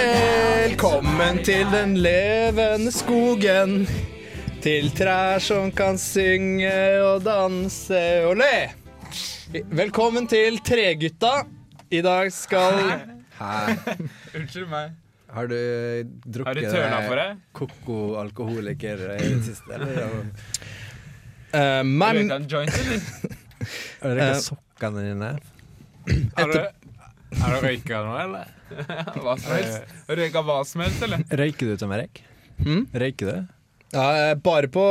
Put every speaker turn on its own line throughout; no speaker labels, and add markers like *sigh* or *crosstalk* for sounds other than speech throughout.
Velkommen til den levende skogen. Til trær som kan synge og danse og le. Velkommen til Tregutta. I dag skal
Hæ?
Unnskyld meg.
Har du
Har du
drukket
tørna for deg?
koko-alkoholiker i det siste?
*laughs*
Eller?
eh,
Har du
meg,
røyka en joint, eller?
Har du
Eh.
røyket sokkene dine?
Har du, har du røyka noe, eller? Hva som helst? Har du Eh, Røyka hva som helst, *laughs* eller?
Røyker du, Tom Erik? Hmm?
Mm?
Røyker du?
ja, eh, bare på,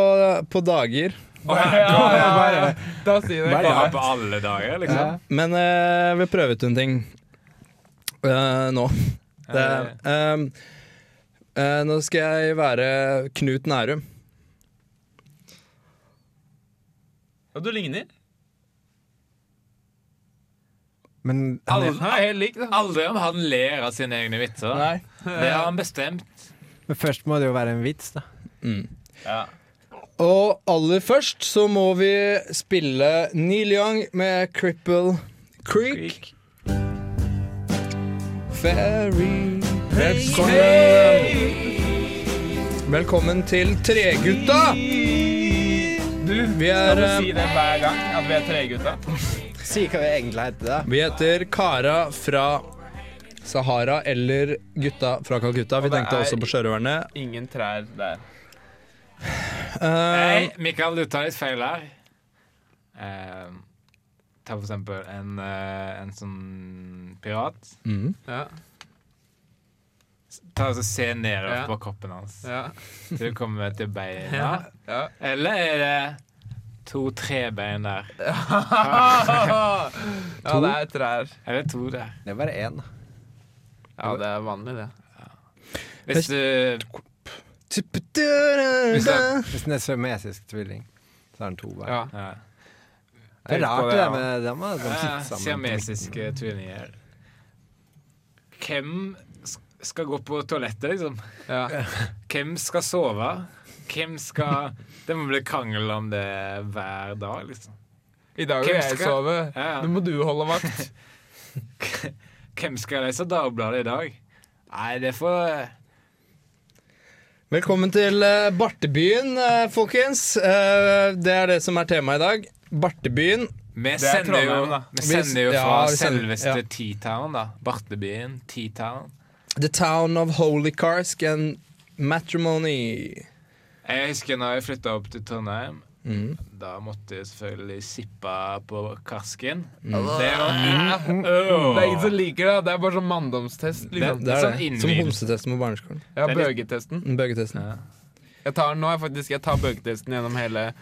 på dager.
Å, ja, ja, ja, ja. Da sier du
Hva er
ikke
det?
Bare på alle dager,
Ja.
liksom.
Men eh, vi prøver ut en ting eh, nå. Det, ehm, eh, nå skal jeg være Knut Nærum.
Og du ligner.
Men han
Aldri,
er,
Han er helt lik, da.
aldri om han ler av sine egne vitser. Det har han bestemt.
men først må det jo være en vits, da.
Ja.
Og aller først så må vi spille Neil Young med Cripple Creek. Ferry Velkommen, Velkommen til Tregutta!
Du,
Vi
skal
er
du
eh,
si det hver gang at vi er tregutta?
Si hva vi egentlig heter, da.
Vi heter Kara fra Sahara eller Gutta fra Calcutta. Vi
det
tenkte
er-
også på sjørøverne.
Ingen trær der.
Eh,
Nei, Eh, Mikael, du tar litt feil her. Eh, ta for eksempel en, eh, en sånn pirat.
mm.
Ja,
Ta og så Se nedover
Ja.
på kroppen hans
ja,
til du kommer til beina.
ja. *laughs* ja.
Eller er det to trebein der?
Ja, det er trær.
Eller to der.
Det er bare én.
Ja, det er vanlig, det.
Hvis du
Hvis *laughs* den er sømesisk tvilling, så er den to hver.
Ja.
ja.
Det er
Tenk på det,
rart, det der
ja.
med dem. da. De
Ja,
sitter sammen.
Siamesiske tvillinger. Hvem s- skal gå på toalettet, liksom?
Ja.
Hvem skal sove? Hvem skal *laughs* Det må bli krangel om det hver dag, liksom.
I dag vil
Hvem
jeg
skal-
sove.
Ja.
Nå må du holde vakt.
Hvem skal lese Dagbladet i dag? Nei, det får eh,
Velkommen til eh, Bartebyen, eh, folkens. Eh, det er det som er temaet i dag. Bartebyen.
Vi
er
sender jo,
Trondheim, da.
vi
Vi-
sender jo
ja,
fra
vi sender-
selveste
ja.
T-Town, da. Bartebyen. T-Town.
The town of holy carsk and matrimony.
Jeg husker når jeg flytta opp til Trondheim.
Mm.
Da måtte jeg selvfølgelig sippe på karsken. Det var
Det er ingen som liker det. Det er bare sånn manndomstest. Liksom.
Det er
Sånn
det.
innvielse.
Som homsetesten på barneskolen. Mm,
Ja,
det er litt-
bøgetesten.
Bøgetesten.
Ja.
Jeg tar den nå, jeg faktisk. Jeg tar bøgetesten gjennom hele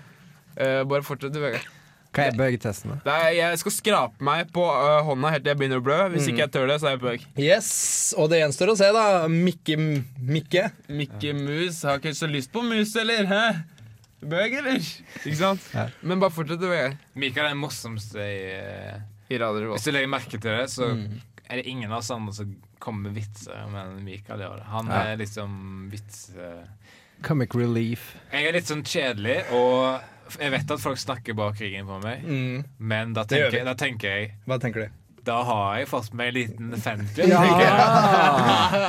Eh, Bare fortsett, du, Vegard.
Hva er bøgetesten, da?
Det er- Jeg skal skrape meg på eh, hånda helt til jeg begynner å blø. Hvis ikke jeg tør det, så er jeg bøg.
Yes, og det gjenstår å se, da. Mikke Mikke.
Mikke Mus har ikke så lyst på mus, eller? Hæ? Bøg, eller? Ikke sant?
Ja.
Men bare fortsett, du, Vegard.
Mikael er den morsomste i eh,
I Radio Revolt.
Hvis du legger merke til det, så er det ingen av oss andre som kommer med vitser, men Mikael gjør det. Han
Ja.
er liksom vits... eh,
Comic relief.
Jeg er litt sånn kjedelig, og jeg vet at folk snakker bak ryggen på meg,
Mm.
men da
Det gjør vi.
tenker, da tenker jeg
Hva tenker du?
Da har jeg fått meg en liten femtier.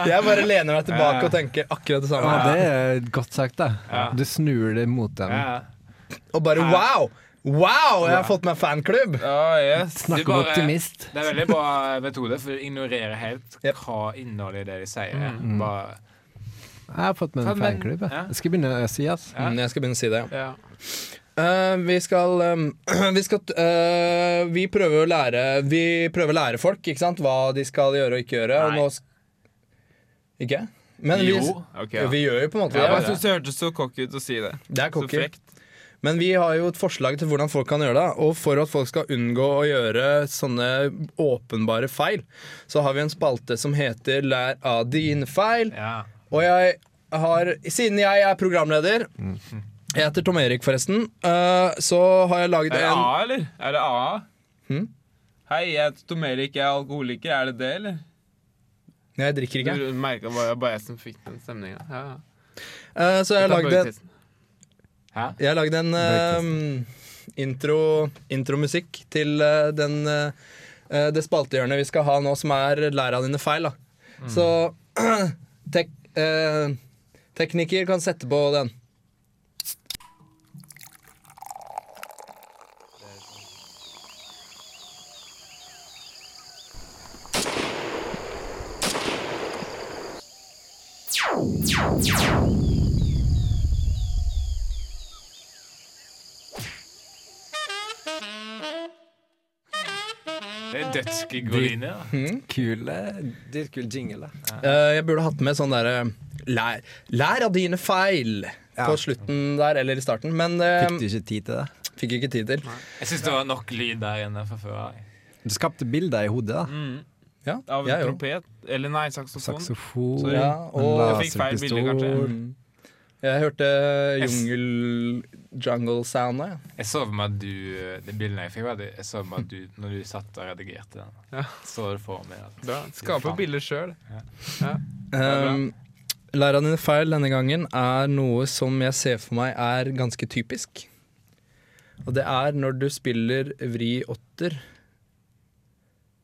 Jeg bare lener meg tilbake og tenker akkurat det
Ja,
samme.
det er godt sagt, da.
Ja.
Du snur det mot dem.
Ja.
Og bare wow! Wow, jeg har fått meg fanklubb!
Ja, yes.
Snakk
Du
om
bare-
optimist.
Det er veldig bra metode, for du ignorerer helt
Yep.
hva innholdet i det de sier. Bare,
Jeg har fått meg
Ja,
en
men-
fanklubb. jeg.
ja.
Jeg skal begynne å si, ass.
Ja.
Mm, jeg skal begynne å si det.
Ja.
Eh, vi skal, eh, *clears throat* vi, skal eh, vi prøver å lære Vi prøver å lære folk ikke sant? hva de skal gjøre og ikke gjøre. Og
Nei.
nå sk ikke? Men vi,
jo.
Ok, ja.
vi gjør jo på en måte
Ja,
det.
jeg syns det hørtes så cocky ut å si det.
Det er
Så
cocky.
frekt.
Men vi har jo et forslag til hvordan folk kan gjøre det. Og for at folk skal unngå å gjøre sånne åpenbare feil, så har vi en spalte som heter 'Lær av dine feil'.
Ja.
Og jeg har, siden jeg er programleder Jeg heter Tom Erik, forresten. øh, så har jeg laget
Er det
en
A, eller? Er det A?
Hm?
Hei, jeg heter Tom Erik, jeg er alkoholiker. Er det det, eller?
Nei, Jeg drikker ikke.
Du merket bare, bare jeg som fikk den stemninga. Ja. ja.
Øh, så jeg har
Ta
laget en,
bøgetesten.
Hæ?
jeg har laget en øh, intro, intromusikk eh, til øh, den, øh, det spaltehjørnet vi skal ha nå, som er 'Lær av dine feil'. da Så *clears throat* tek, eh, tekniker kan sette på den.
Det er dødsgigolini, da.
Kule, litt kul jingle. da.
Eh, jeg burde hatt med sånn derre lær, lær av dine feil
Ja.
på slutten der, eller i starten, men eh,
Fikk du ikke tid til det?
fikk ikke tid til.
Jeg syns det var nok lyd der inne fra før av.
Du skapte bilder i hodet, da.
Ja,
Av
jeg jo.
trompet Eller nei, saksofon.
Saksofon,
Sorry.
Ja, og
en
Jeg fikk feil bilde,
laserpistol.
Jeg hørte
Jeg s-
jungel jungle sound da, ja.
Jeg så for meg at du eh, Det bildet jeg fikk, var det- jeg så for meg at du når du satt og redigerte den.
Ja.
Så du for meg at
Bra. Skape
Faen.
bilder sjøl. bra.
Um, Lær av dine feil denne gangen er noe som jeg ser for meg er ganske typisk. Og det er når du spiller vri åtter,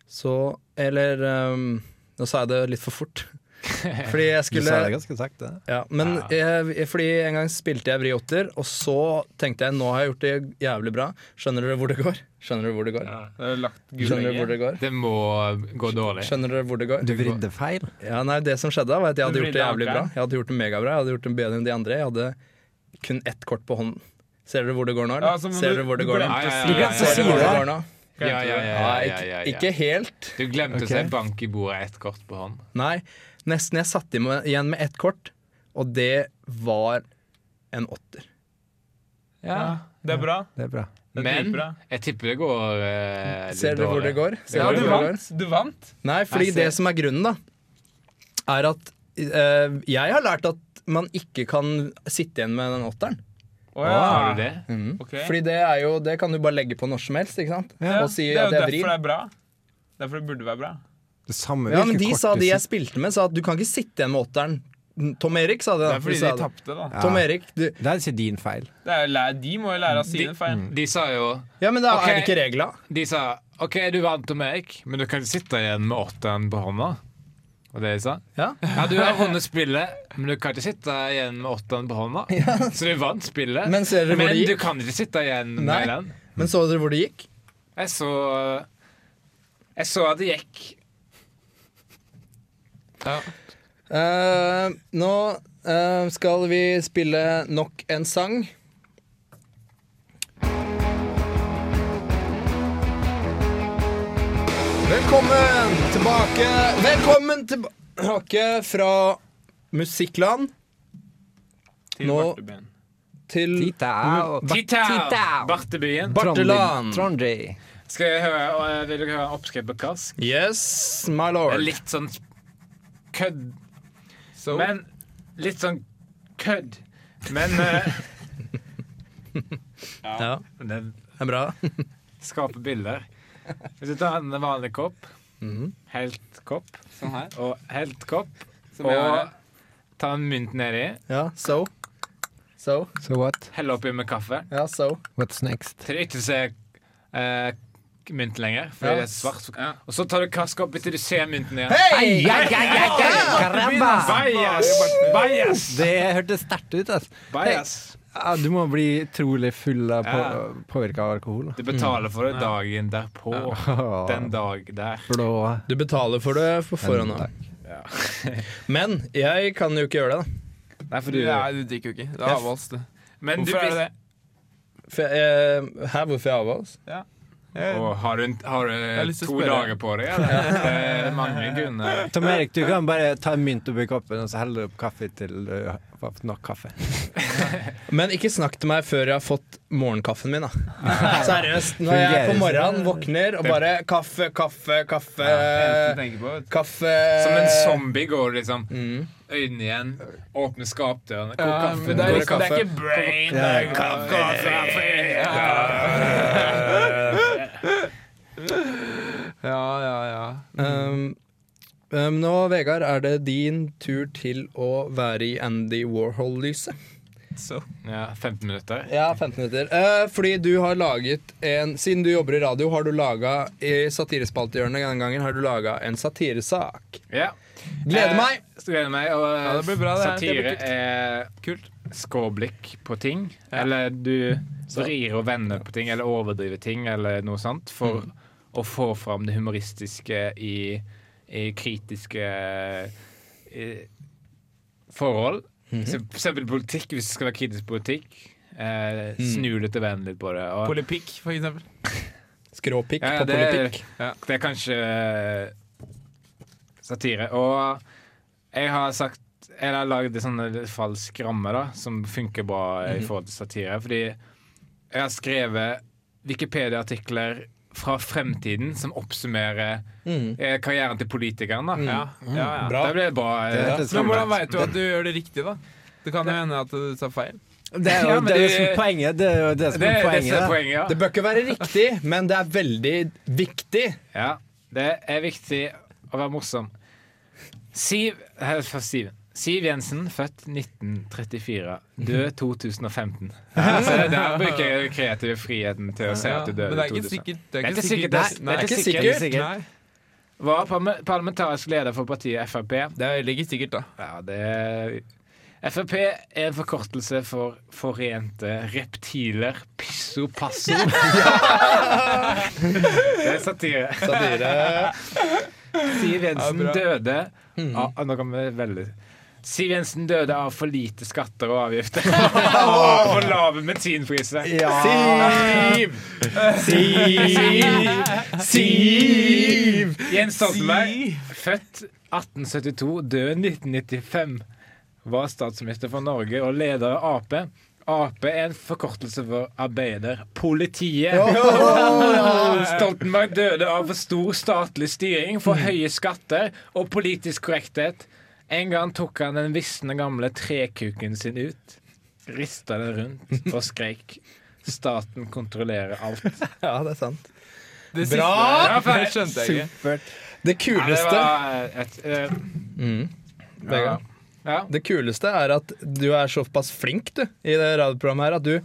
så Eller um, Nå sa jeg det litt for fort. *laughs* Fordi jeg
Du
skulle
sa det ganske sakte.
ja, men jeg, jeg- fordi en gang spilte jeg vri åtter, og så tenkte jeg nå har jeg gjort det jævlig bra. Skjønner dere hvor det går? Skjønner dere hvor det går?
Lagt
Skjønner dere hvor det går?
Det må gå dårlig.
Skjønner dere hvor det går?
Du vridde feil.
Ja, nei, det som skjedde da var at jeg
Du
hadde gjort det
vridde
jævlig bra.
ankeren.
Jeg hadde gjort det megabra. Jeg hadde gjort det bedre enn de andre. Jeg hadde kun ett kort på hånden. Ser dere hvor det går nå? eller?
Ja, altså, men
Ser
du-
dere hvor det
du
går nå?
glemte å
Ja, ja, ja,
si
ja, ja,
glemte å
Ser
si
dere hvor
det.
det går nå?
Ja, ja, ja, ja,
Nei,
ja, ja,
ikke,
ja.
ikke helt.
Du glemte
Ok.
å si bank i bordet ett kort på hånd.
Nei. Nesten jeg satt im- igjen med ett kort, og det var en åtter.
Ja, det er bra.
Det er bra.
Det er
Men
dritbra.
jeg tipper det går eh, litt
Ser dere hvor det
dårlig.
går? Ser
Ja,
dere
du
hvor det går?
vant. Du vant.
Nei, fordi
Jeg ser-
det som er grunnen, da, er at eh, jeg har lært at man ikke kan sitte igjen med den åtteren.
Å
Å, Har du det?
Ok.
Fordi det er jo Det kan du bare legge på når som helst, ikke sant?
Ja,
Og si
det er
at
jo
jeg
derfor
vrir.
det er bra. Derfor det burde være bra.
Det samme
Ja,
hvilket
men de
kort
sa
du
de jeg
sitter-
spilte med, sa at du kan ikke sitte igjen med åtteren. Tom Erik sa det.
Det
da.
er fordi
sa
de
det.
tapte, da.
Ja.
Tom Erik, du
Det er ikke din feil.
Det er jo læ- de Mm. må jo lære av sine
De-
feil.
De sa jo
Ja, men da
Ok.
er det ikke regla.
De sa OK, du vant, Tom Erik, men du kan ikke sitte igjen med åtteren på hånda. Og det de sa?
Ja.
Ja, du har vunnet spillet, men du kan ikke sitte igjen med åtteren på hånda. Så du vant spillet,
Men ser dere hvor det
men
gikk?
du kan ikke sitte igjen
Nei.
med den.
Men så dere hvor det gikk?
Jeg så Jeg så at det gikk. Ja.
Eh, nå eh, skal vi spille nok en sang. Velkommen tilbake Velkommen tilbake fra musikkland
Til
Nå-
barteben.
til
Tita og
Titta! Bartebyen.
Barteland.
Trondheim.
Skal jeg høre, og jeg vil dere høre en oppskrift på kask?
Yes, my
Det
lord.
er litt sånn kødd,
Så
men Litt sånn kødd. Men eh,
*laughs* Ja,
det
det er bra.
skaper bilder. Hvis du tar en vanlig kopp,
Mhm.
helt kopp
sånn her.
og helt kopp,
Som jeg har
og
her.
ta en mynt nedi,
Ja, so. So.
So what?
hell oppi med kaffe.
Ja, so.
What's next?
Til det ikke ser eh, mynt lenger, fordi
Ja.
det er svart. Og så tar du kaska opp etter du ser mynten igjen.
Hei!
Caramba!
Bias! Bias!
Det hørtes sterkt ut. ass.
Bias!
Ja, du må bli utrolig full av på,
Ja.
påvirka av alkohol. da.
Du betaler for det dagen derpå.
Åh,
Den dag der.
Blå
Du betaler for det på forhånd. da. *laughs* Men jeg kan jo ikke gjøre det, da.
Nei, for du,
Nei, du drikker jo ikke. Det er avholds, det.
men du
Hvorfor er det det?
For jeg, eh, her hvorfor jeg avholder oss?
Jeg-
Å, har du, en- har
har
du
lyst til å
to
spørre.
dager på deg, eller? Det er mange grunner.
Tom Erik, du kan bare ta en mynt oppi koppen og så helle opp kaffe til du har fått nok kaffe.
Men ikke snakk til meg før jeg har fått morgenkaffen min, da. Seriøst. Når jeg
Fungerer
på
ikke.
morgenen våkner og bare kaffe, kaffe, kaffe.
Enten tenker på det.
Kaffe
Som en zombie går du liksom øynene igjen, åpner skapdøren, koker
Ja,
kaffe,
men det er
koker
liksom- det er
kaffe.
ikke brain, det
Ja.
er kaffe. Ja, ja, ja.
Um, um, nå, Vegard, er det din tur til å være i Andy Warhol-lyset.
så
Ja, 15 minutter.
Ja, 15 minutter. Eh, fordi du har laget en Siden du jobber i radio, har du laga i satirespaltehjørnet denne gangen har du laget en satiresak.
Ja.
Gleder
Eh,
meg!
så gleder meg. Og
Ja, det blir bra, det her. Det
satire
blir
er
kult.
skråblikk på ting. Eller du vrir og vender på ting, eller overdriver ting, eller noe sånt. For
Mm.
å få fram det humoristiske i, i kritiske i, forhold.
Mhm.
Så For eksempel politikk, hvis det skal være kritisk politikk.
Mm.
Eh, snu litt og vende litt på det. Og,
Polipikk, for eksempel.
Skråpikk
ja,
på
det,
politikk.
Ja, det er kanskje eh, satire. Og jeg har sagt Jeg har lagd en sånn falsk ramme da som funker bra eh, i
Mhm.
forhold til satire. Fordi jeg har skrevet Wikipedia-artikler fra fremtiden som oppsummerer eh, karrieren til politikeren. da
Ja, ja, ja.
Mhm. Bra.
Det blir bra. eh,
Det er litt
Men hvordan
sammenlagt.
veit du at du gjør det riktig, da? Det kan jo hende at du sa feil.
Det er
Ja,
jo
men
det er jo
det-
som er poenget. Det er jo det som
Det
er
er det som er
poenget.
poenget. Ja.
Det bør ikke være riktig, men det er veldig viktig.
Ja, det er viktig å være morsom. Siv, her er først Siv. Siv Jensen, født 1934, død 2015. Mhm. *laughs* Ja, så det der bruker jeg den kreative friheten til å si
Ja,
at du
men
døde
det
i
er ikke
2015.
sikkert.
Det er ikke sikkert.
det
Det er-
nei,
det er ikke
Det er
sikkert.
sikkert.
Nei,
Var parme- parlamentarisk leder for partiet Frp.
det er heller ikke sikkert, da.
Ja, det er Frp er en forkortelse for Forente reptiler pisso passo. *laughs* det er satire. *laughs*
Satire.
Siv Jensen
Ja, bra. Mm.
døde av, ah, Nå kommer det veldig Siv Jensen døde av for lite skatter og
*laughs*
avgifter. *laughs* og for lave bensinpriser. Siv! Siv! Siv! Jens Stoltenberg, født 1872, død 1995, var statsminister for Norge og leder av Ap. Ap er en forkortelse for Arbeiderpolitiet. *laughs* Stoltenberg døde av for stor statlig styring, for høye skatter og politisk korrekthet. En gang tok han den visne gamle trekuken sin ut, rista den rundt og skreik 'Staten kontrollerer alt'.
Ja, det er sant.
Det
Bra!
*laughs* Ja, for det skjønte jeg ikke.
Supert.
Det
Ja, det
kuleste,
var et eh, ja.
Vegard,
ja.
det kuleste er at du er såpass flink du, i det radioprogrammet her at du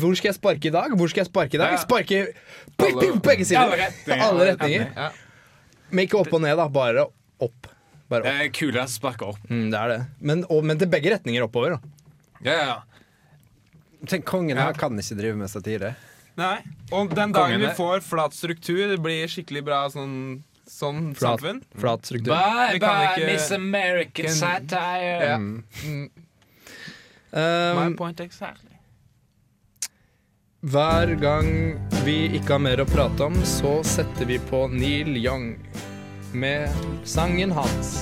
hvor skal jeg sparke i dag? Hvor skal jeg sparke i dag?
Ja.
Sparke ping, ping, begge sider!
Alle retninger.
Alle retninger.
Ja.
Men ikke opp og ned, da. Bare opp.
Det
Bare opp.
er kulere å sparke opp.
Mm, det er det. Men, og, men til begge retninger oppover. Da.
Ja, ja.
Tenk, kongen her kan ikke drive med satire.
Nei. Og den dagen vi
Kongene.
får flat struktur, det blir skikkelig bra sånn, sånn
Flat,
samfunn.
flat struktur.
Bye,
Vi kan
bye,
ikke-
Miss American
Kan-
satire.
Ja. My
Um,
point exactly.
hver gang vi ikke har mer å prate om, så setter vi på Neil Young med sangen hans.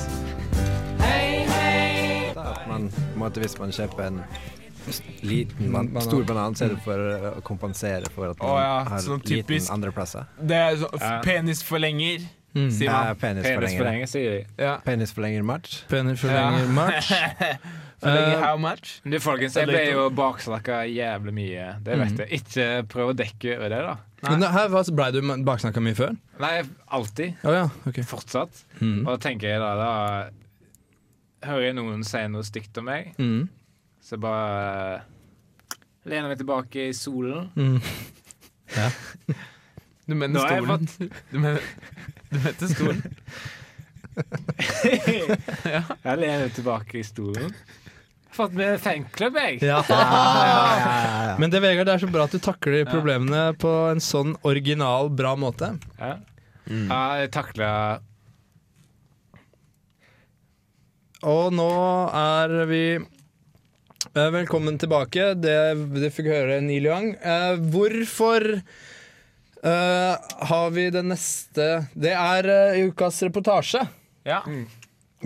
Da At man, på en måte, hvis man kjøper en liten ban
Banan.
stor banan, så er det for eh, å kompensere for at man
Å ja,
har
sånn typisk.
liten andreplasser.
Det er sånn
Ja.
penisforlenger, sier
Ja,
man.
Penis for
penisforlenger.
lenge, sier de.
Ja.
Penisforlenger match.
Penny
*laughs*
forlenger match.
Forlenger
Eh,
how much?
Men Du, folkens, jeg ble jo baksnakka jævlig mye. Det vet jeg. Ikke prøv å dekke over det, da.
Men det her var- Ble du baksnakka mye før?
Nei, alltid.
Å ja, ok.
Fortsatt.
Mm.
Og da tenker jeg da, da Hører jeg noen si noe stygt om meg,
Mm.
så bare eh, lener meg tilbake i solen.
Mm.
Du mener
Nå har jeg
stolen. *laughs* Du mener, du mente
*laughs*
stolen.
Jeg lener tilbake i stolen. Jeg har fått med fanklubb, jeg.
Ja.
Ja, ja.
Men det Vegard, det er så bra at du takler problemene på en sånn original, bra måte.
Ja. Ja, jeg takla
Og nå er vi eh, Velkommen tilbake. Det, det fikk høre Neil Young. Eh, hvorfor eh, har vi det neste Det er eh, ukas reportasje.
Ja.
*laughs*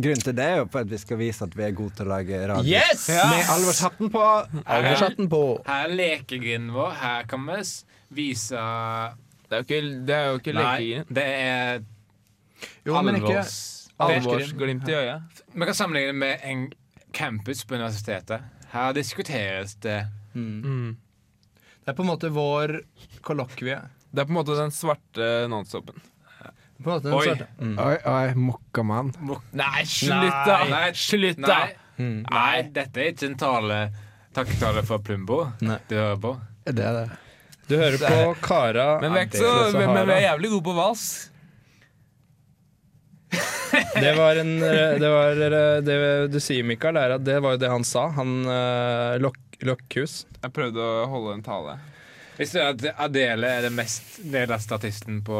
Grunnen til det er jo for at vi skal vise at vi er gode til å lage radio.
Yes!
Med alvorshatten på!
Har
her,
satt den på.
her er lekegrinden vår. Her kan vi s- vise
Det er jo ikke, det er jo ikke
Nei,
lekegrind.
det er
Jo, men ikke
alvors...
Alvorsglimt i øyet.
Vi kan sammenligne det med en campus på universitetet. Her diskuteres det
Det er på en måte vår kollokvie.
Det er på en måte den svarte nonstopen.
På en måte den
Oi.
svarte. Mm.
Oi, oi, mokkamann.
Nei, slutt, da!
Nei,
slutt, Mm.
Nei, nei dette er ikke en tale Takketale for Plumbo.
Nei.
Du hører på.
Det er det.
Du hører på Kara
Men vi er, ikke
Antikes
så, men, men vi er
Sahara.
jævlig gode på vals.
Det var en eh, Det, var, eh, det du sier, Mikael, er at det var jo det han sa. Han eh, lokk- Lokkhus.
Jeg prøvde å holde en tale.
Visste du at Adele er den mest nedlastede artisten på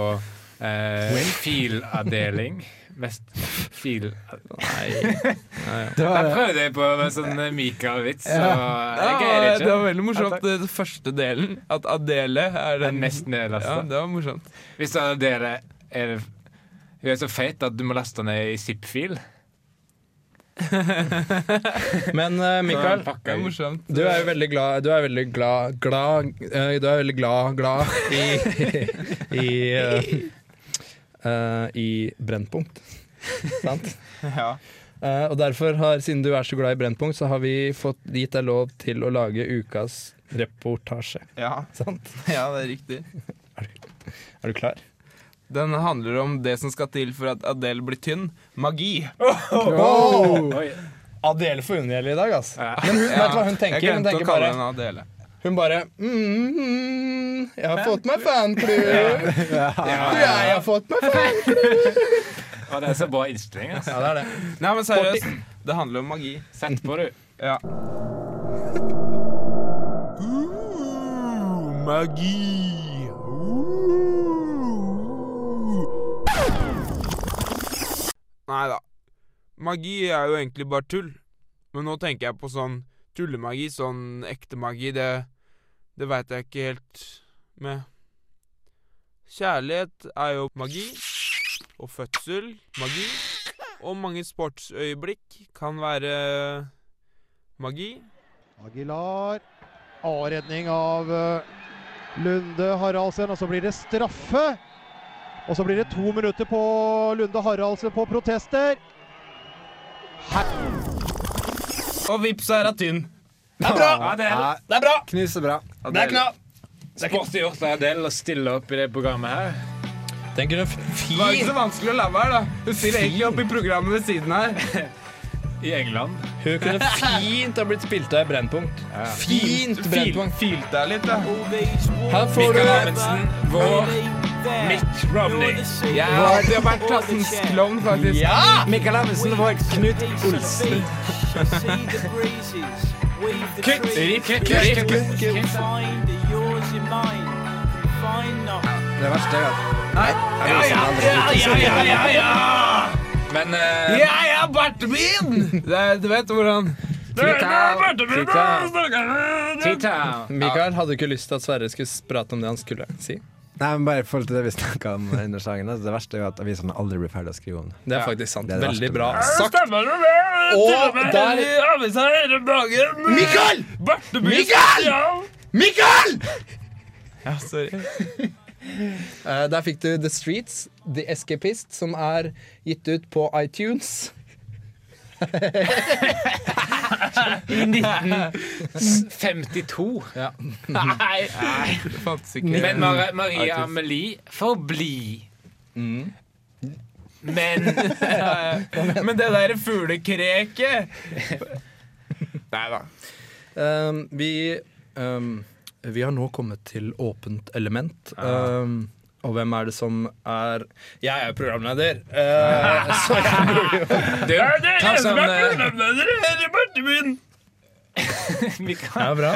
eh, filavdeling? Mest fil... *laughs*
Nei.
Det var
Jeg
det.
prøvde jeg på med sånn Mikael-vits, så jeg
Ah,
Ja,
greier
det
ikke.
var veldig morsomt, den første delen. At Adele er
Den
den
mest
Ja,
nedlastede.
det var morsomt.
Hvis du hadde dere er, Hun er så feit at du må laste den ned i zip-fil.
Men eh, Mikael,
Det var morsomt.
du er jo veldig glad Du er veldig glad Glad eh, Du er veldig glad glad i *laughs* I, eh, eh, i Brennpunkt. Sant?
Ja.
Eh, og derfor har, siden du er så glad i Brennpunkt, så har vi fått gitt deg lov til å lage ukas reportasje.
Ja,
Sant?
ja det er riktig.
Er du klar?
Den handler om det som skal til for at Adele blir tynn. Magi.
Oi.
Adele får unngjelde i dag, altså.
Ja.
Men hun, vet du hva hun
Jeg
tenker? Hun
glemte å
tenker
kalle
bare,
henne Adele.
hun bare mm, mm, Jeg har fått meg fanklubb! Du, jeg har fått meg fanklubb!
Og det er så bra innstilling. Altså.
Ja, det er det.
Nei, men seriøst. Det handler om magi.
Sett på, du.
Ja. magi. Nei da. Magi er jo egentlig bare tull. Men nå tenker jeg på sånn tullemagi, sånn ekte magi. Det, det veit jeg ikke helt med. Kjærlighet er jo magi. Og fødsel magi. Og mange sportsøyeblikk kan være magi.
Aguilar. A-redning av eh, Lunde Haraldsen, og så blir det straffe. Og så blir det to minutter på Lunde Haraldsen på protester.
Og vips er hun tynn.
Det er bra!
Adele.
Det er bra!
Knusebra.
Det er knall!
Sporty gjort av Adele å stille opp i det programmet her.
Tenker du
Det var ikke
fin
så vanskelig å la være, da. Hun stiller egentlig opp i programmet ved siden her.
I England.
Hun kunne fint ha blitt spilt av i Brennpunkt. Fint Brennpunkt.
Filte deg litt, da.
Her får
Mikael
du
Amundsen, vår Mitt Romney.
Jeg har alltid vært klassens klovn, faktisk.
Ja!
Mikael Amundsen var Knut Olsen.
Kutt!
Ripp,
Kutt!
kutt, kutt,
Kutt!
kutt.
Det verste er at
Ja, ja, ja, ja, ja, ja, ja. Men eh,
Jeg er barten min! Det er, du vet hvordan
Tita.
Mikael hadde ikke lyst til at Sverre skulle prate om det han skulle si.
Nei, men bare i forhold til det vi snakka om under sangen. Altså, det verste er jo at avisene aldri blir ferdig å skrive om det.
Det er faktisk sant.
Det er det
Veldig
verste.
bra sagt. Og der Mikael! Mikael! Mikael!
Ja, sorry.
Eh, der fikk du The Streets, The Escapist, som er gitt ut på iTunes.
I 1952.
Ja.
Nei. Nei.
Det fantes ikke.
Men Mar Maria Amelie forbli. Men
Men det derre fuglekrekket Nei da.
Um, vi, um, vi har nå kommet til åpent element. Um, og hvem er det som er Jeg er jo programleder! Uh, så jeg burde jo
du, ta sånn eh,
*laughs* Ja, bra.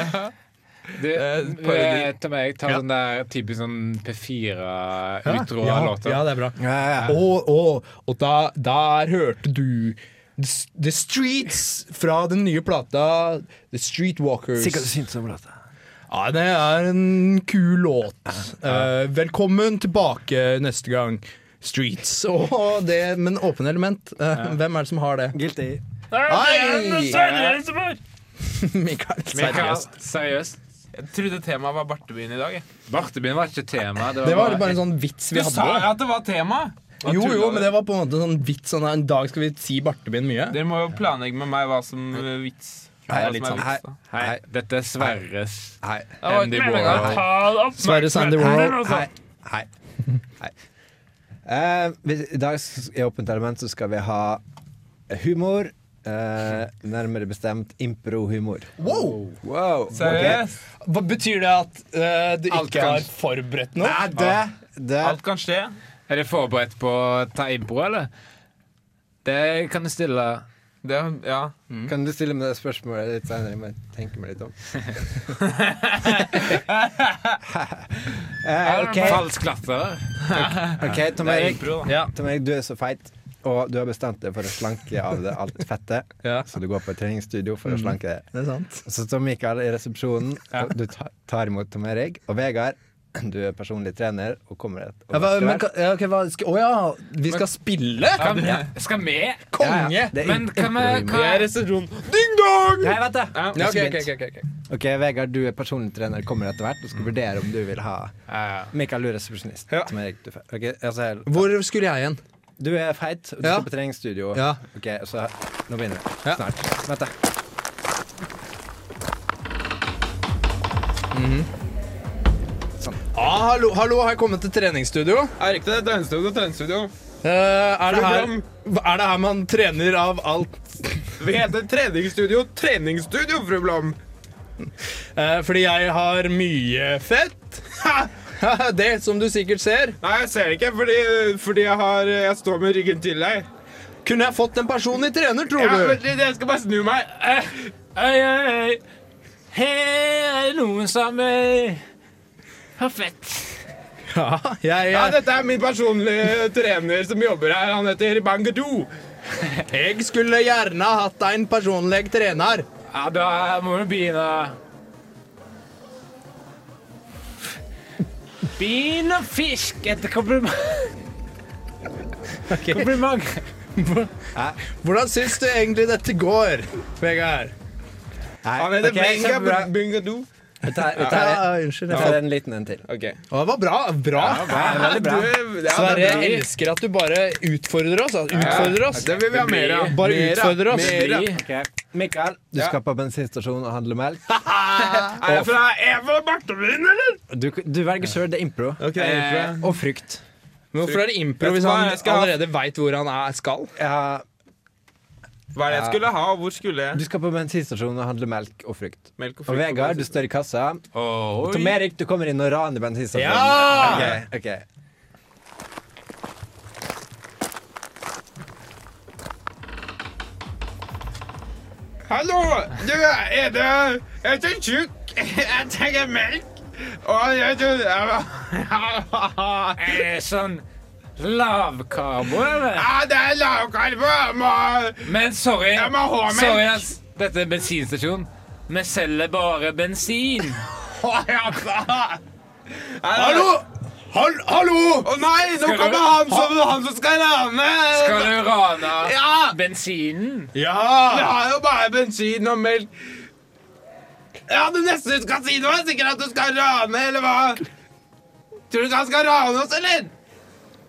Du,
parodi.
eh, ta meg, ta sånn der typisk sånn P4-utdrag
Ja,
av låter.
ja, det er bra.
Ja, ja.
Og, og, og da, der hørte du The S- The Streets fra den nye plata The Streetwalkers.
Sikkert du syntes om låta.
Ja, det er en kul låt. Eh, velkommen tilbake neste gang. Streets og det, men åpne element. Eh, Hvem er det som har det?
Guilty.
Hei! *laughs* Mikael, altså.
Mikael,
seriøst.
seriøst.
Jeg trodde temaet var bartebyen i dag. jeg.
Bartebyen var ikke tema. Det var,
Det var bare en sånn vits vi
Du sa
hadde.
jo at det var tema!
Jo, jo, men det var på en måte en sånn vits sånn En dag skal vi si Bartebyen mye.
Dere må jo planlegge med meg hva som er vits.
Hei,
Hva som
litt
er
sånn.
vits, da.
Hei, dette er Sverres
Hei.
Andy Warhol.
Sverre Sandy Warhol.
Hei. Hei. Hei. Eh, hvis- I dag s- i Åpent element så skal vi ha humor, Eh, nærmere bestemt impro-humor.
Wow!
Wow.
Seriøst?
Hva betyr det at eh, du
Alt
ikke
kan.
har forberedt noe?
Nei, det, det
Ah. Alt kan skje.
Er det forberedt på å ta impro, eller? Det kan du stille
Det, ja.
Kan du stille meg det spørsmålet litt senere? Jeg må tenke meg litt
*laughs*
om. eh, ok,
Falsk klatrer.
ok, Tom
Det er
Erik.
impro, da.
Ja.
Tom Erik, du er så feit, og du har bestemt deg for å slanke av det alt fettet.
Ja.
Så du går på treningsstudio
Mm.
for å slanke det.
Det er sant.
Så Tom Mikael er i resepsjonen, og du ta- tar imot Tom Erik. Og Vegard, du er personlig trener og kommer et
Ja, hva, men,
overraskende-
ka- ja, ok, hva, skal, å ja, vi skal spille?
Kan, skal vi?
Konge!
Ja, ja, det er
Men kan vi-
impro-humor.
kan-
Jeg er i resepsjonen. Ding dong!
Nei, vent da!
Ja, ok,
Ikke
ok,
begynt.
ok, ok.
Ok, Vegard, du er personlig trener, kommer etter hvert og skal vurdere om du vil ha
Ja,
Mikael, du er resepsjonist.
Ja.
Tom Erik, du, er fe- ok, altså,
Hvor skulle jeg igjen?
du er feit, og du
Ja.
skal på treningsstudio.
Ja.
Ok, så nå begynner vi.
Ja.
Snart. Vent, da.
Ah, hallo, hallo, har jeg kommet til treningsstudio?
Er ikke det treningsstudio, treningsstudio?
Eh, er, det her,
Program.
er det her man trener av alt?
Vi heter treningsstudio, treningsstudio, fru Blom.
Eh, fordi jeg har mye fett. *laughs* Ha! det som du sikkert ser.
Nei, jeg ser det ikke, fordi, fordi jeg, har, jeg står med ryggen til deg.
Kunne jeg fått en personlig trener, tror
Ja,
du?
vent litt, jeg skal bare snu meg.
Eh, Oi, oi, oi. Her er det noen som eh, har fett.
Ja, jeg,
Ja,
jeg,
dette er min personlige trener som jobber her. Han heter Bangadu.
jeg skulle gjerne hatt en personlig trener.
Ja, da må du begynne Begynn å fiske etter kompliment. Kompliment.
Hvordan syns du egentlig dette går, Vegard?
Nei,
Han heter
ok, kjempebra.
Benga Bangadu.
Vi tar, vi tar,
unnskyld.
vi tar en liten en til.
Ok.
Å, det var bra. bra.
Veldig bra.
Du, ja,
Sverre,
det er
jeg elsker at du bare utfordrer oss. altså. Utfordrer oss.
bra. Det vil vi ha mer av.
Bare
Mer av,
utfordrer oss.
mer av.
Ok, Mikael, du
Ja.
skal på bensinstasjonen og handle melk.
*laughs* Er jeg fra Eva Bartholin, eller?
Du, du velger sjøl, det er impro. Eh,
Ok,
impro.
Og frukt.
Men hvorfor er det impro
Vet
hvis
du hva,
han
jeg skal ha-
allerede veit hvor han er skal?
Ja,
Hva er det jeg skulle ha, og hvor skulle
du
jeg?
skal på bensinstasjonen og handle melk og frukt.
Melk og
Og Vegard, du står i kassa.
Oi.
Tom Erik, du kommer inn og raner bensinstasjonen.
Ja!
Ok, ok.
Hallo! Du, er det Jeg er så tjukk. *laughs* Jeg trenger melk. Og jeg tror
Er det sånn lavkarbo, eller?
Ja, det er lavkarbo. Jeg må-
Men sorry,
Jeg må ha melk.
sorry ass. dette er bensinstasjon. Vi selger bare bensin.
Å, ja, faen.
Hallo! Hall, hallo!
Å nei, nå
Skal
kommer
du-
han som, han som skal rane!
Skal du rane
Ja!
bensinen?
Vi
Ja!
har jo bare bensin og melk. Ja, det neste du skal si nå, er sikkert at du skal rane, eller hva? Tror du ikke han skal rane oss, eller?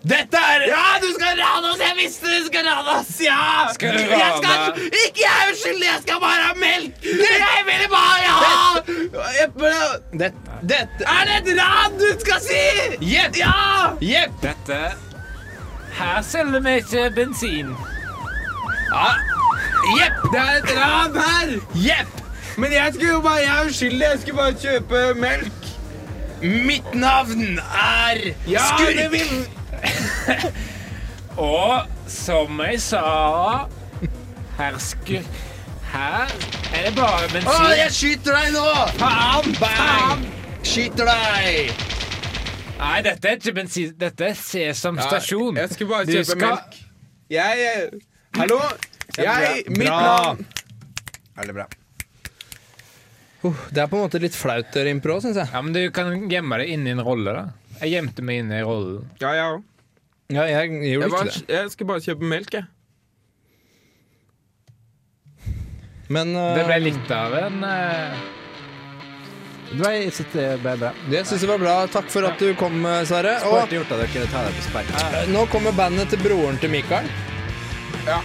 Dette er
Ja, du skal rane oss! Jeg visste du skulle rane oss! Ja!
Skal du
Jeg
rane?
Ah, skal, ikke jeg er uskyldig, jeg skal bare ha melk! Jeg vil bare ha eple...
Dette, dette.
Er det et ran du skal si?
Jepp!
Ja!
Jepp!
Dette Her selger vi ikke bensin.
Jepp!
Det er et ran her!
Jepp!
Men jeg skulle jo bare, jeg er uskyldig, jeg skulle bare kjøpe melk.
Mitt navn er Skurk!
det vil...
Og som jeg sa Her skur... Her er det bare
Å,
bensin.
jeg skyter deg nå!
Faen,
Bang! Skyter deg!
Nei, dette er ikke bensin. Dette er Sesam stasjon.
Jeg skulle bare
Du
kjøpe
skal-
melk. Jeg... eh, Hallo? Jeg,
Kjempebra.
mitt
Bra.
navn...
Veldig bra.
Uh, det er på en måte litt flaut dere impro, syns jeg.
Ja, men Du kan gjemme deg inni en rolle. da Jeg gjemte meg inni rollen.
Ja, ja.
Ja, jeg gjorde
Jeg,
ikke
var,
det.
jeg skulle bare kjøpe melk, jeg.
Men
Det
eh,
ble litt av en eh,
Du har sittet bare bra.
det syns jeg var bra. Takk for at du kom, eh, Sverre. Og
Sport gjort at dere tar deg på sparket.
Ah.
Eh, Nå kommer bandet til broren til Mikael.
Ja.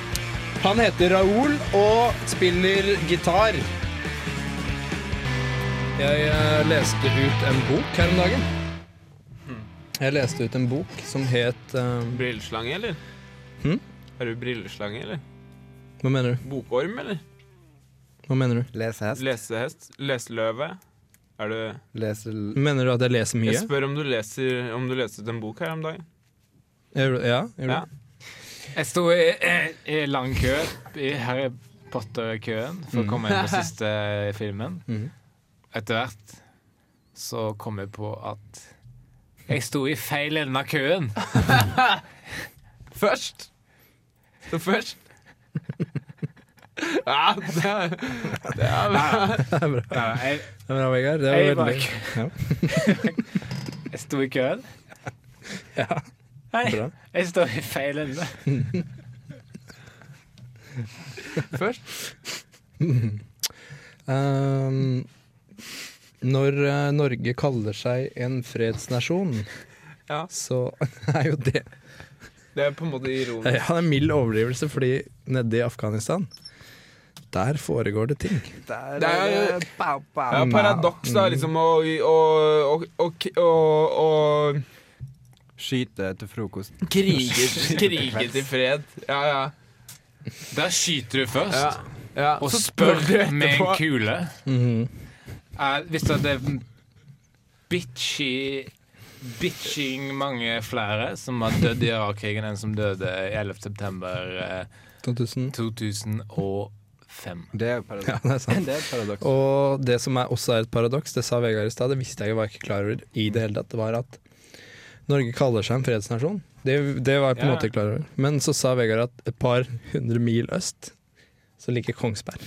Han heter Raoul og spiller gitar. Jeg eh, leste ut en bok her om dagen. Hmm. Jeg leste ut en bok som het eh,
Brilleslange, eller?
Hm?
Er du brilleslange, eller?
Hva mener du?
Bokorm, eller?
Hva mener du?
Lesehest.
Lesehest? Leseløve? Er du
Lese...
Mener du at jeg leser mye?
Jeg spør om du leser Om du leste en bok her om dagen.
Gjør du- Ja? Gjør du? *laughs*
Ja.
Jeg sto i, eh, i lang kø i Harry Potter-køen
Mm.
for å
*laughs*
komme inn på siste eh, filmen.
Mhm.
Etter hvert så kom jeg på at jeg sto i feil ende av køen.
Først! Så først Ja, det er, det er
Ja, *laughs* jeg,
Det er bra, Vegard. Det
jeg, var i
var veldig
kø-
*laughs*
jeg sto i køen.
bra.
Jeg står i feil ende.
Først
Ehm, når eh, Norge kaller seg en fredsnasjon,
Ja.
så *laughs* er jo det
Det er på en måte ironisk.
Ja, det er en mild overdrivelse, fordi nede i Afghanistan, der foregår det ting.
Det er,
Eh,
det er paradoks,
Mm.
da, liksom, å å, å, å, å, å
Skyte til frokost.
krige,
*laughs*
krige til fred. Ja, ja.
Der skyter du først,
ja, ja.
og
Så
spør
du
med en
etterpå.
kule.
Mhm.
Jeg visste at det er bitchy Bitching mange flere som har dødd i Irak-krigen enn som døde i 11. september eh,
2000.
2005.
Det er paradoks.
Ja, det er sant.
*laughs* Det er paradoks.
Og det som er, også er et paradoks, det sa Vegard i stad, det visste jeg ikke, var jeg ikke klar over i det hele tatt, var at Norge kaller seg en fredsnasjon. Det, det var jeg på en
Ja.
måte klar over. Men så sa Vegard at et par hundre mil øst, så ligger Kongsberg.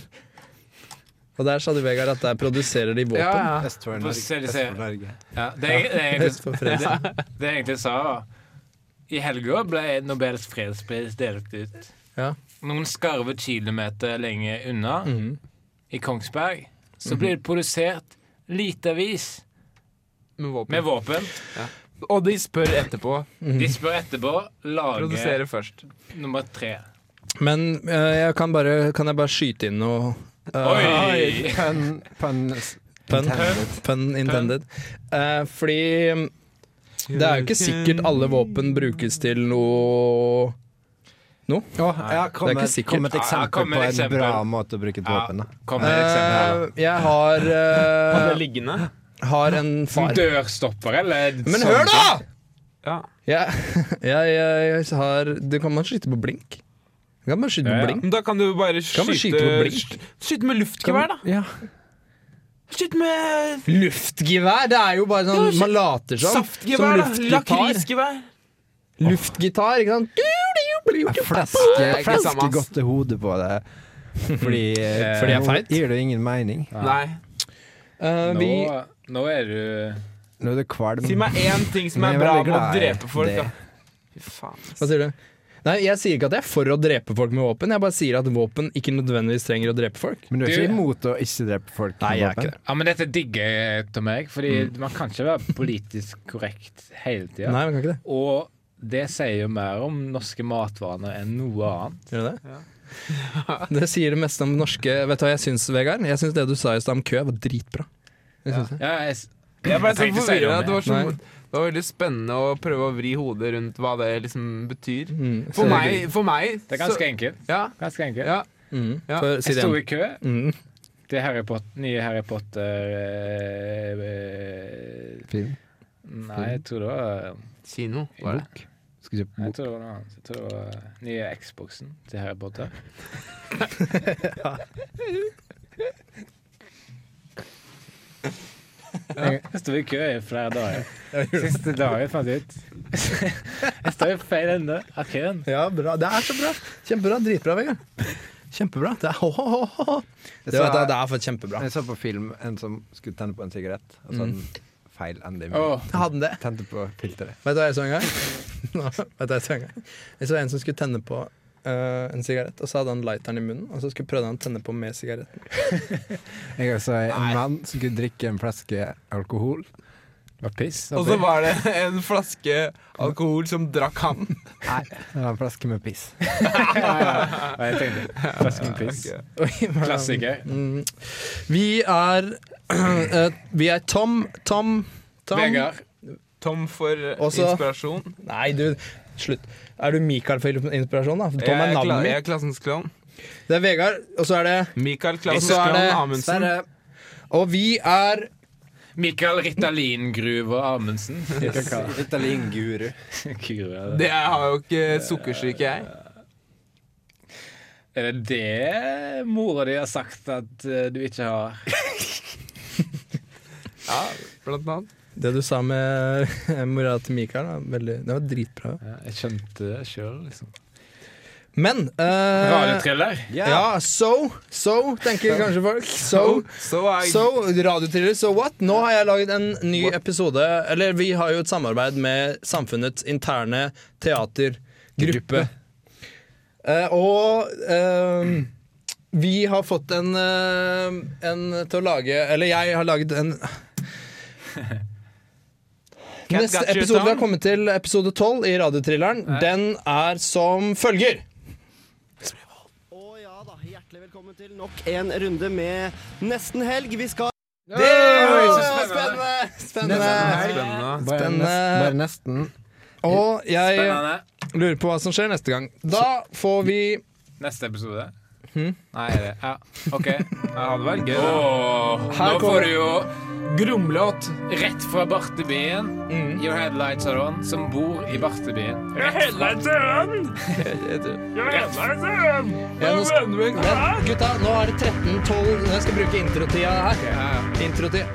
Og der sa du, Vegard, at der produserer de våpen.
Ja, ja.
Øst for
Få se,
Norge.
de
Øst
ser.
for Norge.
Ja, det, er- det, er
Øst
egentlig,
for fred.
det jeg egentlig sa I helga ble Nobels fredspris delt ut.
Ja.
Noen skarve kilometer lenger unna,
Mm.
Mhm.
i Kongsberg,
Mm-hmm.
så blir det produsert lite avis
Med våpen.
med våpen.
Og de spør etterpå.
De spør etterpå lage
Produsere først.
nummer tre.
Men eh, jeg kan, bare, kan jeg bare skyte inn noe eh,
Ah. Oi!
Pun, pun,
Pun,
intended.
pun intended. Eh, fordi mm, det er jo ikke sikkert
Eh,
alle våpen brukes til noe
Åh, ja, kom,
Det er ikke
med-
sikkert.
kom med et
Ja,
eksempel
kom med et
på en
eksempel.
bra måte å bruke et våpen da.
Kom med et eksempel.
Eh, Jeg har,
Det er
eh,
liggende.
har en
Eh,
far.
Dørstopper, eller sånn
Men hør, da!
Ja.
Jeg, *laughs* jeg, jeg har Du kan bare skyte på blink. Du kan bare skyte
Ja, ja.
på blink.
Men da kan du jo bare
Du kan bare skyte på
skyte
blink.
Skyte med luftgevær, da.
Ja.
Skyt med
Luftgevær, det er jo bare
Ja,
sånn
skyt-
Man later som.
saftgevær, da.
som luftgitar.
Lakrisgevær.
Luftgitar, ikke sant?
Flaske,
er ikke det samme,
flaske
ass.
godt til hodet på det. Fordi, eh,
fordi jeg er
nå
feit?
Gir det ingen mening.
Nei.
Eh, vi,
Nå, nå er du
Nå er du kvalm.
Si meg én ting som
Men
er
jeg er
bra
veldig
med å
glad i
drepe folk,
det.
da. Fy faen. ass.
hva sier du? Nei, Jeg sier ikke at jeg er for å drepe folk med våpen. Jeg bare sier at våpen ikke nødvendigvis trenger å drepe folk.
Men du er
Du-
ikke imot å ikke drepe folk? med
Nei, jeg er
våpen?
ikke det.
Ja, men dette digger jeg til meg, fordi man kan ikke være politisk korrekt hele tida.
Nei, man kan ikke det.
Og det sier jo mer om norske matvaner enn noe annet.
Gjør det det? *laughs* det sier det meste om norske Vet du hva jeg syns, Vegard? Jeg syns det du sa i stad om kø, var dritbra. Jeg syns det.
Ja, jeg, s-
Jeg ble så
tenkte å si
forvirra.
noe
Det, var så-
Nei.
det var veldig spennende å prøve å vri hodet rundt hva det liksom betyr.
Mm,
For
så-
meg, for meg
det er
så,
ganske enkelt.
ja,
Ganske enkelt.
ja.
Mm,
Ja.
for,
Jeg
si det
sto
igjen.
i kø
Mm.
til Harry Potter, nye Harry Potter eh, eh,
Film.
Nei, jeg tror det var
Kino, var det.
Skal kjøpe
Jeg
bok.
tror det var noe annet. Jeg tror det var nye Xboxen til Harry Potter. ja. Jeg sto i kø i flere dager. Siste dagen fant jeg ut. Jeg står i feil ende av køen.
Ja, bra. Det er så bra. Kjempebra. Dritbra, Vegard. Kjempebra. Det er, ho, ho, ho, ho. Det, var, det, det er for kjempebra.
Jeg så på film en som skulle tenne på en sigarett, og så hadde den feil ende i munnen.
Åh,
Jeg hadde det.
Tente på filteret.
Vet du hva jeg så en gang? *laughs* Nå, Vet du hva Jeg så en gang? Jeg så en som skulle tenne på øh, en sigarett, og så hadde han lighteren i munnen, og så skulle prøvde han å tenne på med sigaretten.
Jeg gang så en mann som skulle drikke en flaske alkohol.
det var piss.
Og så var det en flaske alkohol som drakk han.
Det var en flaske med piss.
Og jeg tenkte flaske med piss.
Oi, hva-
Klassiker.
Mm. Vi er *clears throat* øh, Vi er Tom, Tom, Tom
Vegard.
Tom for eh,
Også-
inspirasjon.
Nei, du, slutt. Er du Mikael for inspirasjon, da? Tom
Jeg
er
er, kla
navnet
jeg
mitt.
er klassens klovn.
Det er Vegard, og så er det
Michael
Og
Clausen
så er
Strand
det
Amundsen.
Sverre. Og vi er
Michael Ritalin Gruve *laughs* Amundsen.
Italien-guru.
Gruve, er det.
Det har jo ikke sukkersyke, jeg.
Er det det mora di har sagt at eh, du ikke har?
Ja, blant annet.
Det du sa med *laughs* mora til Mikael, da, veldig, det var dritbra.
Ja, jeg skjønte det sjøl, liksom.
Men eh,
Radiotriller.
Ja, so, so, tenker kanskje folk. So,
Oh, Så er
so radiotriller, so what? Nå har jeg laget en ny episode Eller vi har jo et samarbeid med samfunnets interne teatergruppe. Eh, og eh, vi har fått en, eh, en til å lage Eller jeg har laget en
Cat
Neste
got you,
episode vi har
Tom.
kommet til, episode 12 i Radiotrilleren, den er som følger.
Og ja da, hjertelig velkommen til nok en runde med Nesten helg. Vi skal
Det er
så
spennende!
Nesten
Spennende.
Spennende.
Bare,
Spennende.
nest, bare nesten.
Og jeg
Spennende.
lurer på hva som skjer neste gang. Da får vi
Neste episode? Nei, er det Ja, OK.
Ja, det hadde vært gøy. da.
Åh,
Her
nå
kommer-
får du jo grumlåt rett fra Bartebyen. Your headlights are on, som bor i Bartebyen. Your headlights are *laughs* on! Your headlights are on!
Ja, nå skal- Men gutta, nå er det 13-12 Jeg skal bruke introtida her. Introtida.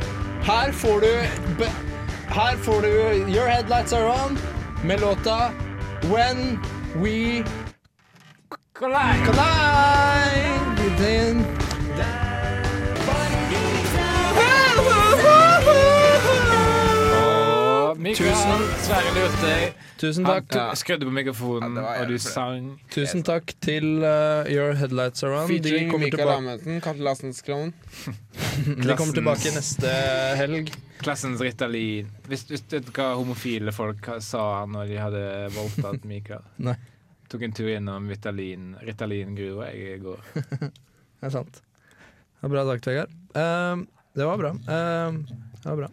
Her får du be- Her får du Your Headlights Are On med låta When We Collide. Then-
Tusen Sverre Lurtøy.
Tusen
Han
takk.
ja. skrudde på mikrofonen,
Ja, det var
og
jævlig
du
flaut.
sang
Tusen takk til eh, Your Headlights Are On. De
Featuring
kommer,
Michael
tilbake,
Amundsen, Katte Lassenskranen.
de kommer tilbake neste helg.
Klassens Ritalin. Hvis hvis du vet hva homofile folk sa når de hadde voldtatt Mikael?
Nei.
Tok en tur gjennom Ritalin, Ritalin gruva jeg i går.
Det er sant. Det var bra sagt, Vegard. Ehm, det var bra. Ehm, det var bra.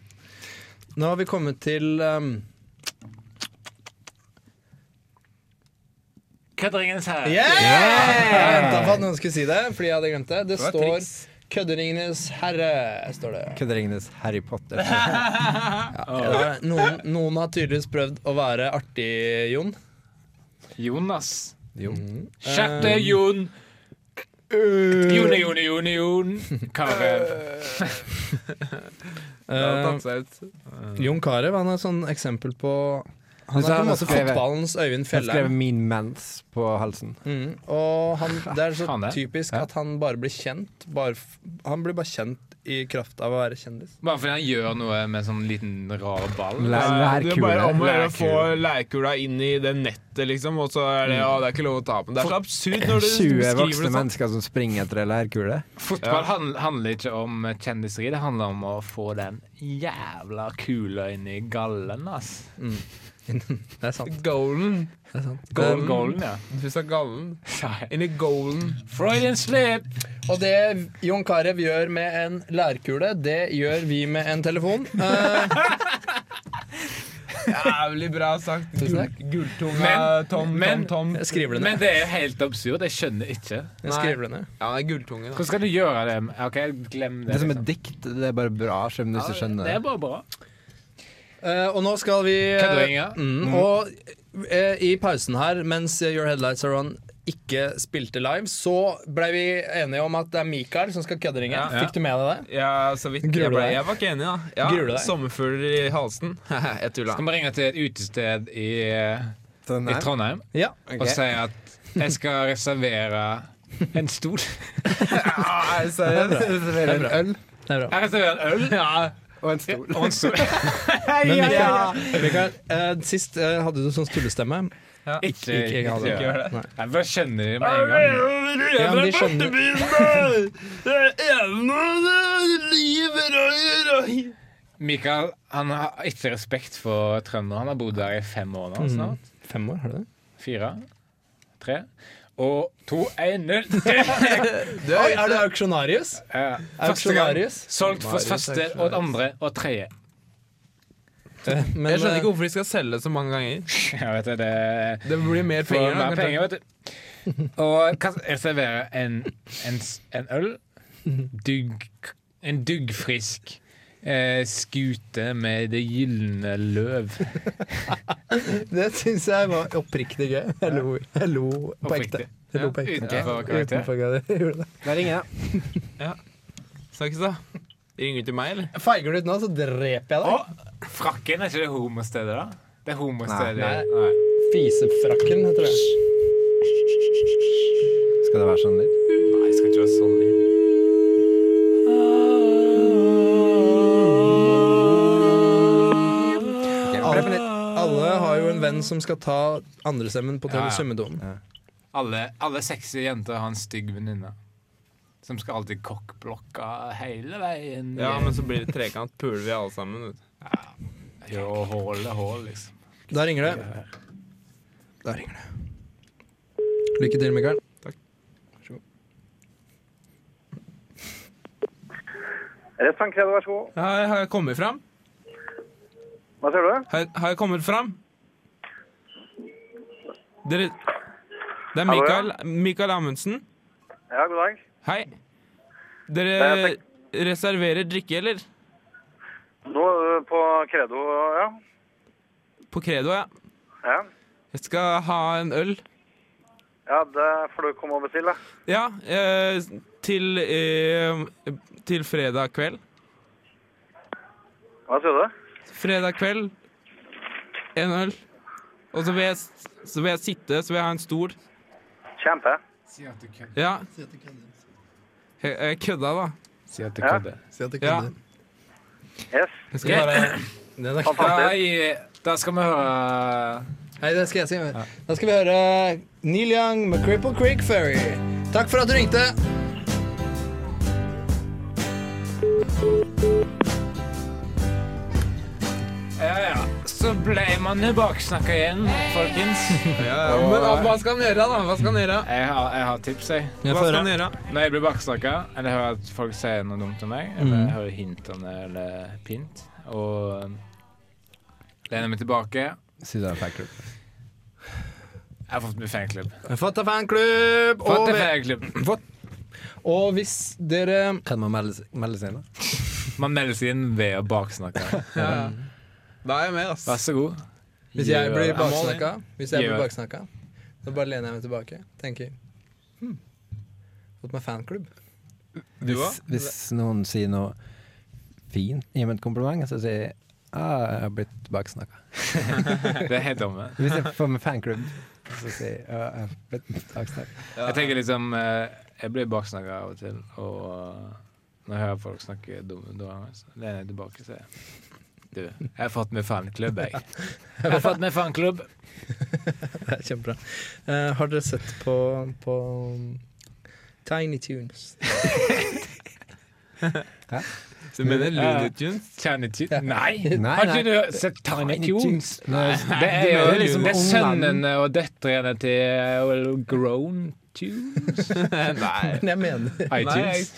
Nå har vi kommet til ehm,
Kødderingens her.
Jeg venta på at noen skulle si det, fordi jeg hadde glemt det. Det står 'Kødderingenes herre'. står det.
Kødderingnes Harry Potter.
Ja, Noen, noen har tydeligvis prøvd å være artig, Jon.
Jonas.
Jo.
Sjette Jon. Jone, Jone, Jone, Jon. Karev. *laughs*
Det hadde
Ehm,
tatt seg ut.
Jon Carew han er et sånn eksempel på Han er
Så
på en
han har
måte
skrevet-
fotballens Øyvind
Jeg skrev
Fjellheim.
min mens på halsen.
Mm, og han, det er så
Han er.
typisk at han bare blir kjent. Bare, f- han blir bare kjent i kraft av å være kjendis.
Bare fordi han gjør noe med sånn liten rar ball.
Nei. En
Det er bare
lærkule.
om å gjøre å få
Lærkule.
lærkula inn i det nettet, liksom. Og så er det, å, det er ikke lov å ta på den. Det er så absurd når du
20
skriver
voksne
det sånn.
mennesker som springer etter ei lærkule.
Fotball handl- handler ikke om kjendiseri, det handler om å få den jævla kula inn i gallen, ass.
Mm. *laughs* Det er sant.
Golden.
Det er sant.
Golden.
Um,
Golden, ja.
Du sa gallen.
Sorry.
Inn i golden.
Freudian slip!
og det Jon Carew gjør med en lærkule, det gjør vi med en telefon. Eh,
Jævlig bra sagt.
Tusen takk.
Gull- Gulltunga
Men-
Tom,
men-
Tom, Tom.
jeg skriver det
Men
ned.
det er jo helt absurd. Jeg skjønner ikke.
*laughs* Jeg skriver det ned.
Ja, det er gulltunge, da.
Hvordan skal du gjøre det? Ok, glem det.
Det er som et
liksom.
dikt. Det er bare bra, selv om du ikke skjønner
Det er bare bra.
Eh, og nå skal vi eh,
Kødderinger.
mm, Og eh, i pausen her, mens eh, Your Headlights Are On ikke spilte live, så ble vi enige om at det er Mikael som skal kødderinge.
Ja.
Fikk du med deg det?
Ja, så vidt.
Gruer
Jeg,
du
ble,
deg?
jeg var ikke enig, da.
Gruer du
Ja,
deg?
Sommerfugler i halsen. *laughs* jeg tulla.
Skal vi ringe til et utested i, eh,
Sånn,
i
nei.
Trondheim
Ja.
og si at jeg skal reservere en stol?
Nei, seriøst.
Serverer en øl
Det er bra.
Jeg reserverer en øl
og en stol.
og en stol. *laughs*
Men Mikael, Mikael eh, sist eh, hadde du sånn stullestemme.
Ikke,
Ikke engang
ikke
det.
gjør det.
Nei.
Jeg bare skjønner det med en gang.
Ja, men de skjønner,
Mikael han har ikke respekt for trøndere. Han har bodd der i fem år nå snart.
fem år, har du det?
Fire. Tre. Og to, én, null.
Oi, er du auksjonarius?
Ja.
Auksjonarius?
*laughs* Solgt for første og andre og tredje.
Men,
Jeg skjønner
eh,
ikke hvorfor de skal selge så mange ganger.
Jeg vet det, det
Det blir mer
får
penger. da,
mer
kanskje.
penger, vet du. Og kan jeg servere en, en, s- en øl? Dugg, en duggfrisk eh, skute med det gylne løv.
Det syns jeg var oppriktig gøy. Jeg lo, jeg lo på ekte.
Oppriktig. Ja,
Jeg lo på ekte.
utenfor karakter.
Utenfor karakter. Jeg gjorde det.
Da ringer jeg.
Snakkes, da. Ringer du til meg, eller?
Feiger du ut nå, så dreper jeg deg.
Frakken, er ikke det homostedet, da? Det er homostedet.
Nei.
Nei.
Fisefrakken, heter det.
Skal det være sånn lyd?
Nei, jeg skal ikke være sånn.
Alle, alle har jo en venn som skal ta andrestemmen på
Ja,
Tone
ja.
Summedonen.
Alle, alle sexy jenter har en stygg venninne. Som skal alltid kokkblokka hele veien.
Ja, men så blir det trekant. Puler vi alle sammen. Vet. du.
Jo, hål er hål, liksom.
Da ringer det. Da ringer det. Lykke til, Mikael.
Restaurant Credo, vær så god.
Har, har jeg kommet fram?
Hva ser du?
Har, har jeg kommet fram? Dere Det er
Hallo, ja.
Mikael, Mikael Amundsen.
Ja, god dag.
Hei.
Hei,
Dere
takk.
reserverer drikke, eller?
Nå ø, på Credo, ja.
På Credo, ja.
Ja,
Jeg skal ha en øl.
ja det får du komme og bestille.
Ja, eh, til, eh, til fredag kveld.
Hva sier du?
Fredag kveld, en øl. Og så vil jeg, s- så vil jeg sitte, så vil jeg ha en stol.
Kjempe.
Si at du kødder.
Ja. Jeg, jeg kødda, da.
Si at du
Ja.
kødder.
Ja.
Yes.
Jeg skal bare
Da,
Fantastisk.
da skal vi høre
Hei, det skal jeg si. Da skal vi høre Neil Young med Cripple Creek Ferry. Takk for at du ringte.
Ja, ja. Så ble man jo baksnakka igjen, folkens.
Eh, Men hva- hva skal han gjøre, da? Hva skal han gjøre?
Jeg har, jeg har tips, jeg.
Hva skal han gjøre?
Når jeg blir baksnakka, eller hører at folk sier noe dumt om meg, eller hører hintene eller pint, og um, lener meg tilbake Jeg
Syns jeg er fanklubb.
har fått meg fanklubb.
Fatta fanklubb!
Fått
Og,
en fanklubb.
og hvis dere
Kan man melde, seg- melde seg inn, da?
Man melder seg inn ved å baksnakke.
Da er jeg med, ass.
Vær så god.
Hvis jeg
Gjør
blir
det.
baksnakka, hvis jeg blir
Gjør.
baksnakka så bare lener jeg meg tilbake. Tenker hm. Fått meg fanklubb.
Du
Hvis,
òg?
hvis noen sier noe fint, gir meg et kompliment, så sier jeg ah, jeg har blitt baksnakka.
Det er helt dumme.
*laughs* Hvis jeg får meg fanklubb, så sier jeg ah, jeg har blitt baksnakka.
Jeg tenker liksom eh, Jeg blir baksnakka av og til, og eh, når jeg hører folk snakke dumme ganger, så lener jeg tilbake og sier Du, jeg har fått meg fanklubb, jeg. Jeg har fått meg fanklubb.
Det er kjempebra. Eh, har dere sett på, på Tiny Tunes?
Du mener Looney Tunes?
Tiny Tunes? Nei!
Nei,
Har ikke
nei.
du sett Tiny Tunes?
Nei.
Det er jo
det er
liksom det er
ungene.
sønnene og døtrene til eh, Grown *laughs* Tunes.
Nei.
Men jeg mener,
iTunes.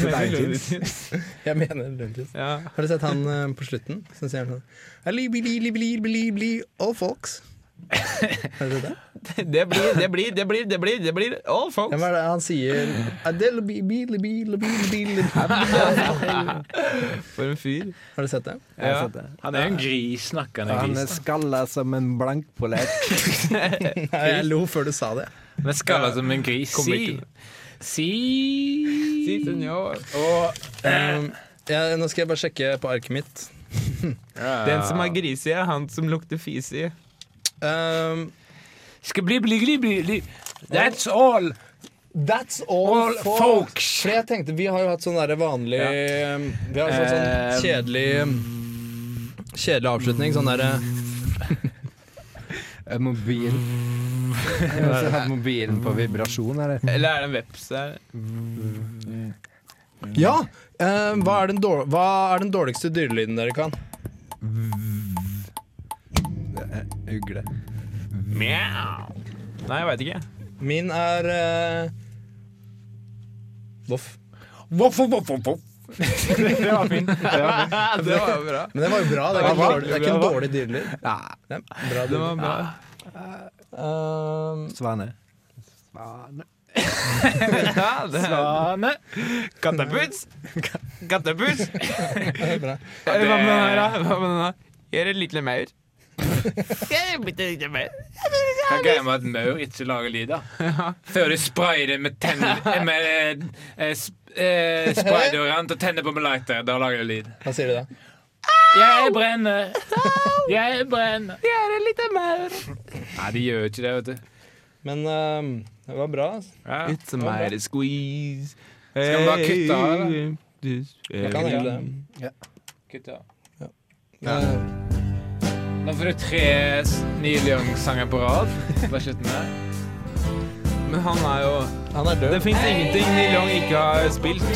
*laughs*
mener Looney Tunes?
jeg mener Looney Tunes.
Ja.
Har dere sett han eh, på slutten? Så sier han sånn "Ali, bili, li, bili, bili, bili, All folks. Har dere sett det?
*laughs* Det blir, det blir, det blir, det blir, det blir all
Ja,
folks.
hva er det han sier? Adele, bi, bi, li, bi, li, bi, li, bi, li. Har
For en fyr.
dere sett det?
Jeg har
Ja.
sett det.
Han er jo en gris, snakkende
Han er
gris.
skalla som en *laughs* blankpolert.
Nei, jeg lo før du sa det.
da. Men skalla som altså en gris. Si.
Kommer ikke-
Si.
Si, senor.
Og
Um, ja, nå skal jeg bare sjekke på arket mitt.
Den som er grisig, er han som lukter fisig.
Um,
Skal bli, bli, bli, bli, bli. That's all.
That's all,
All
folks.
folks.
For jeg tenkte, vi har jo hatt sånn der vanlig Vi har sånn, sånn
Eh,
kjedelig um, Kjedelig avslutning. Sånn derre
Mobil. *laughs* Jeg har også hatt sånn mobilen på vibrasjon, eller?
Eller er det en veps der?
Ja! eh, hva, er den dår, hva er den dårligste dyrelyden dere kan?
Ugle.
Mjau. Nei, jeg veit ikke.
Min er eh, Voff.
Voff, voff, voff, voff. Det var fint. Det var fint.
Det var jo bra.
Men det var jo bra. Det er
Ja, det
ikke, en
var-
dårlig, det er ikke en dårlig dyrelyd. Det er en Bra
Det var
dyrelyd.
bra.
Um,
Svane.
*laughs* Ja, det
Svane.
Kattepuss! Kattepuss!
det
*laughs*
er bra.
Hva med den her, da? Hva med den her? Gjør et lite maur. Gjør et bitte lite maur.
Hva er greia med at maur ikke lager lyd, da? Før du sprayer det med tennene Med eh, sp- eh, spraydørene og tenner på med lighter. Da lager det lyd.
Hva sier du da?
Jeg brenner. Jeg brenner. Jeg er en liten maur. Nei, de gjør jo ikke det, vet du.
Men um, det var bra. altså.
Ja.
It's a mighty squeeze.
Skal vi bare kutte av,
Jeg kan egentlig det.
Kutt, ja.
Eh,
Nå får du tre s- Neil Young-sanger på rad. Bare slutt med det.
Men han er jo
Uh, han er død.
Det fins ingenting Neil Young ikke har spilt.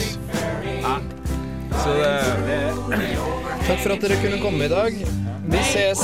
Nei. Så det
Takk for at dere kunne komme i dag. Vi ses.